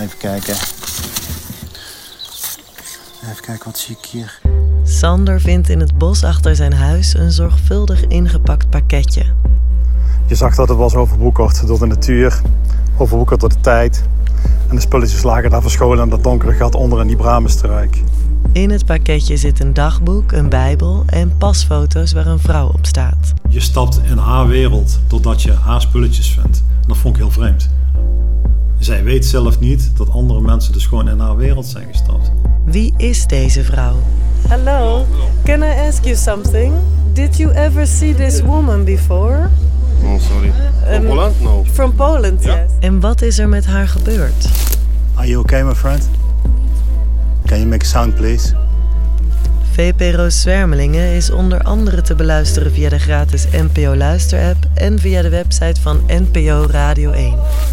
Even kijken. Even kijken, wat zie ik hier? Sander vindt in het bos achter zijn huis een zorgvuldig ingepakt pakketje. Je zag dat het was overwoekerd door de natuur, overwoekerd door de tijd. En de spulletjes lagen daar verscholen in dat donkere gat onder in die bramenstruik. In het pakketje zit een dagboek, een bijbel en pasfoto's waar een vrouw op staat. Je stapt in haar wereld doordat je haar spulletjes vindt. En dat vond ik heel vreemd. Zij weet zelf niet dat andere mensen dus gewoon in haar wereld zijn gestapt. Wie is deze vrouw? Hello, can I ask you something? Did you ever see this woman before? Ehm, No, Oh, sorry. From Holland? No. From Poland, Ja. yes. En wat is er met haar gebeurd? Are you okay, my friend? Can you make sound, please? VPRO Zwermelingen is onder andere te beluisteren via de gratis NPO Luisterapp en via de website van NPO Radio 1.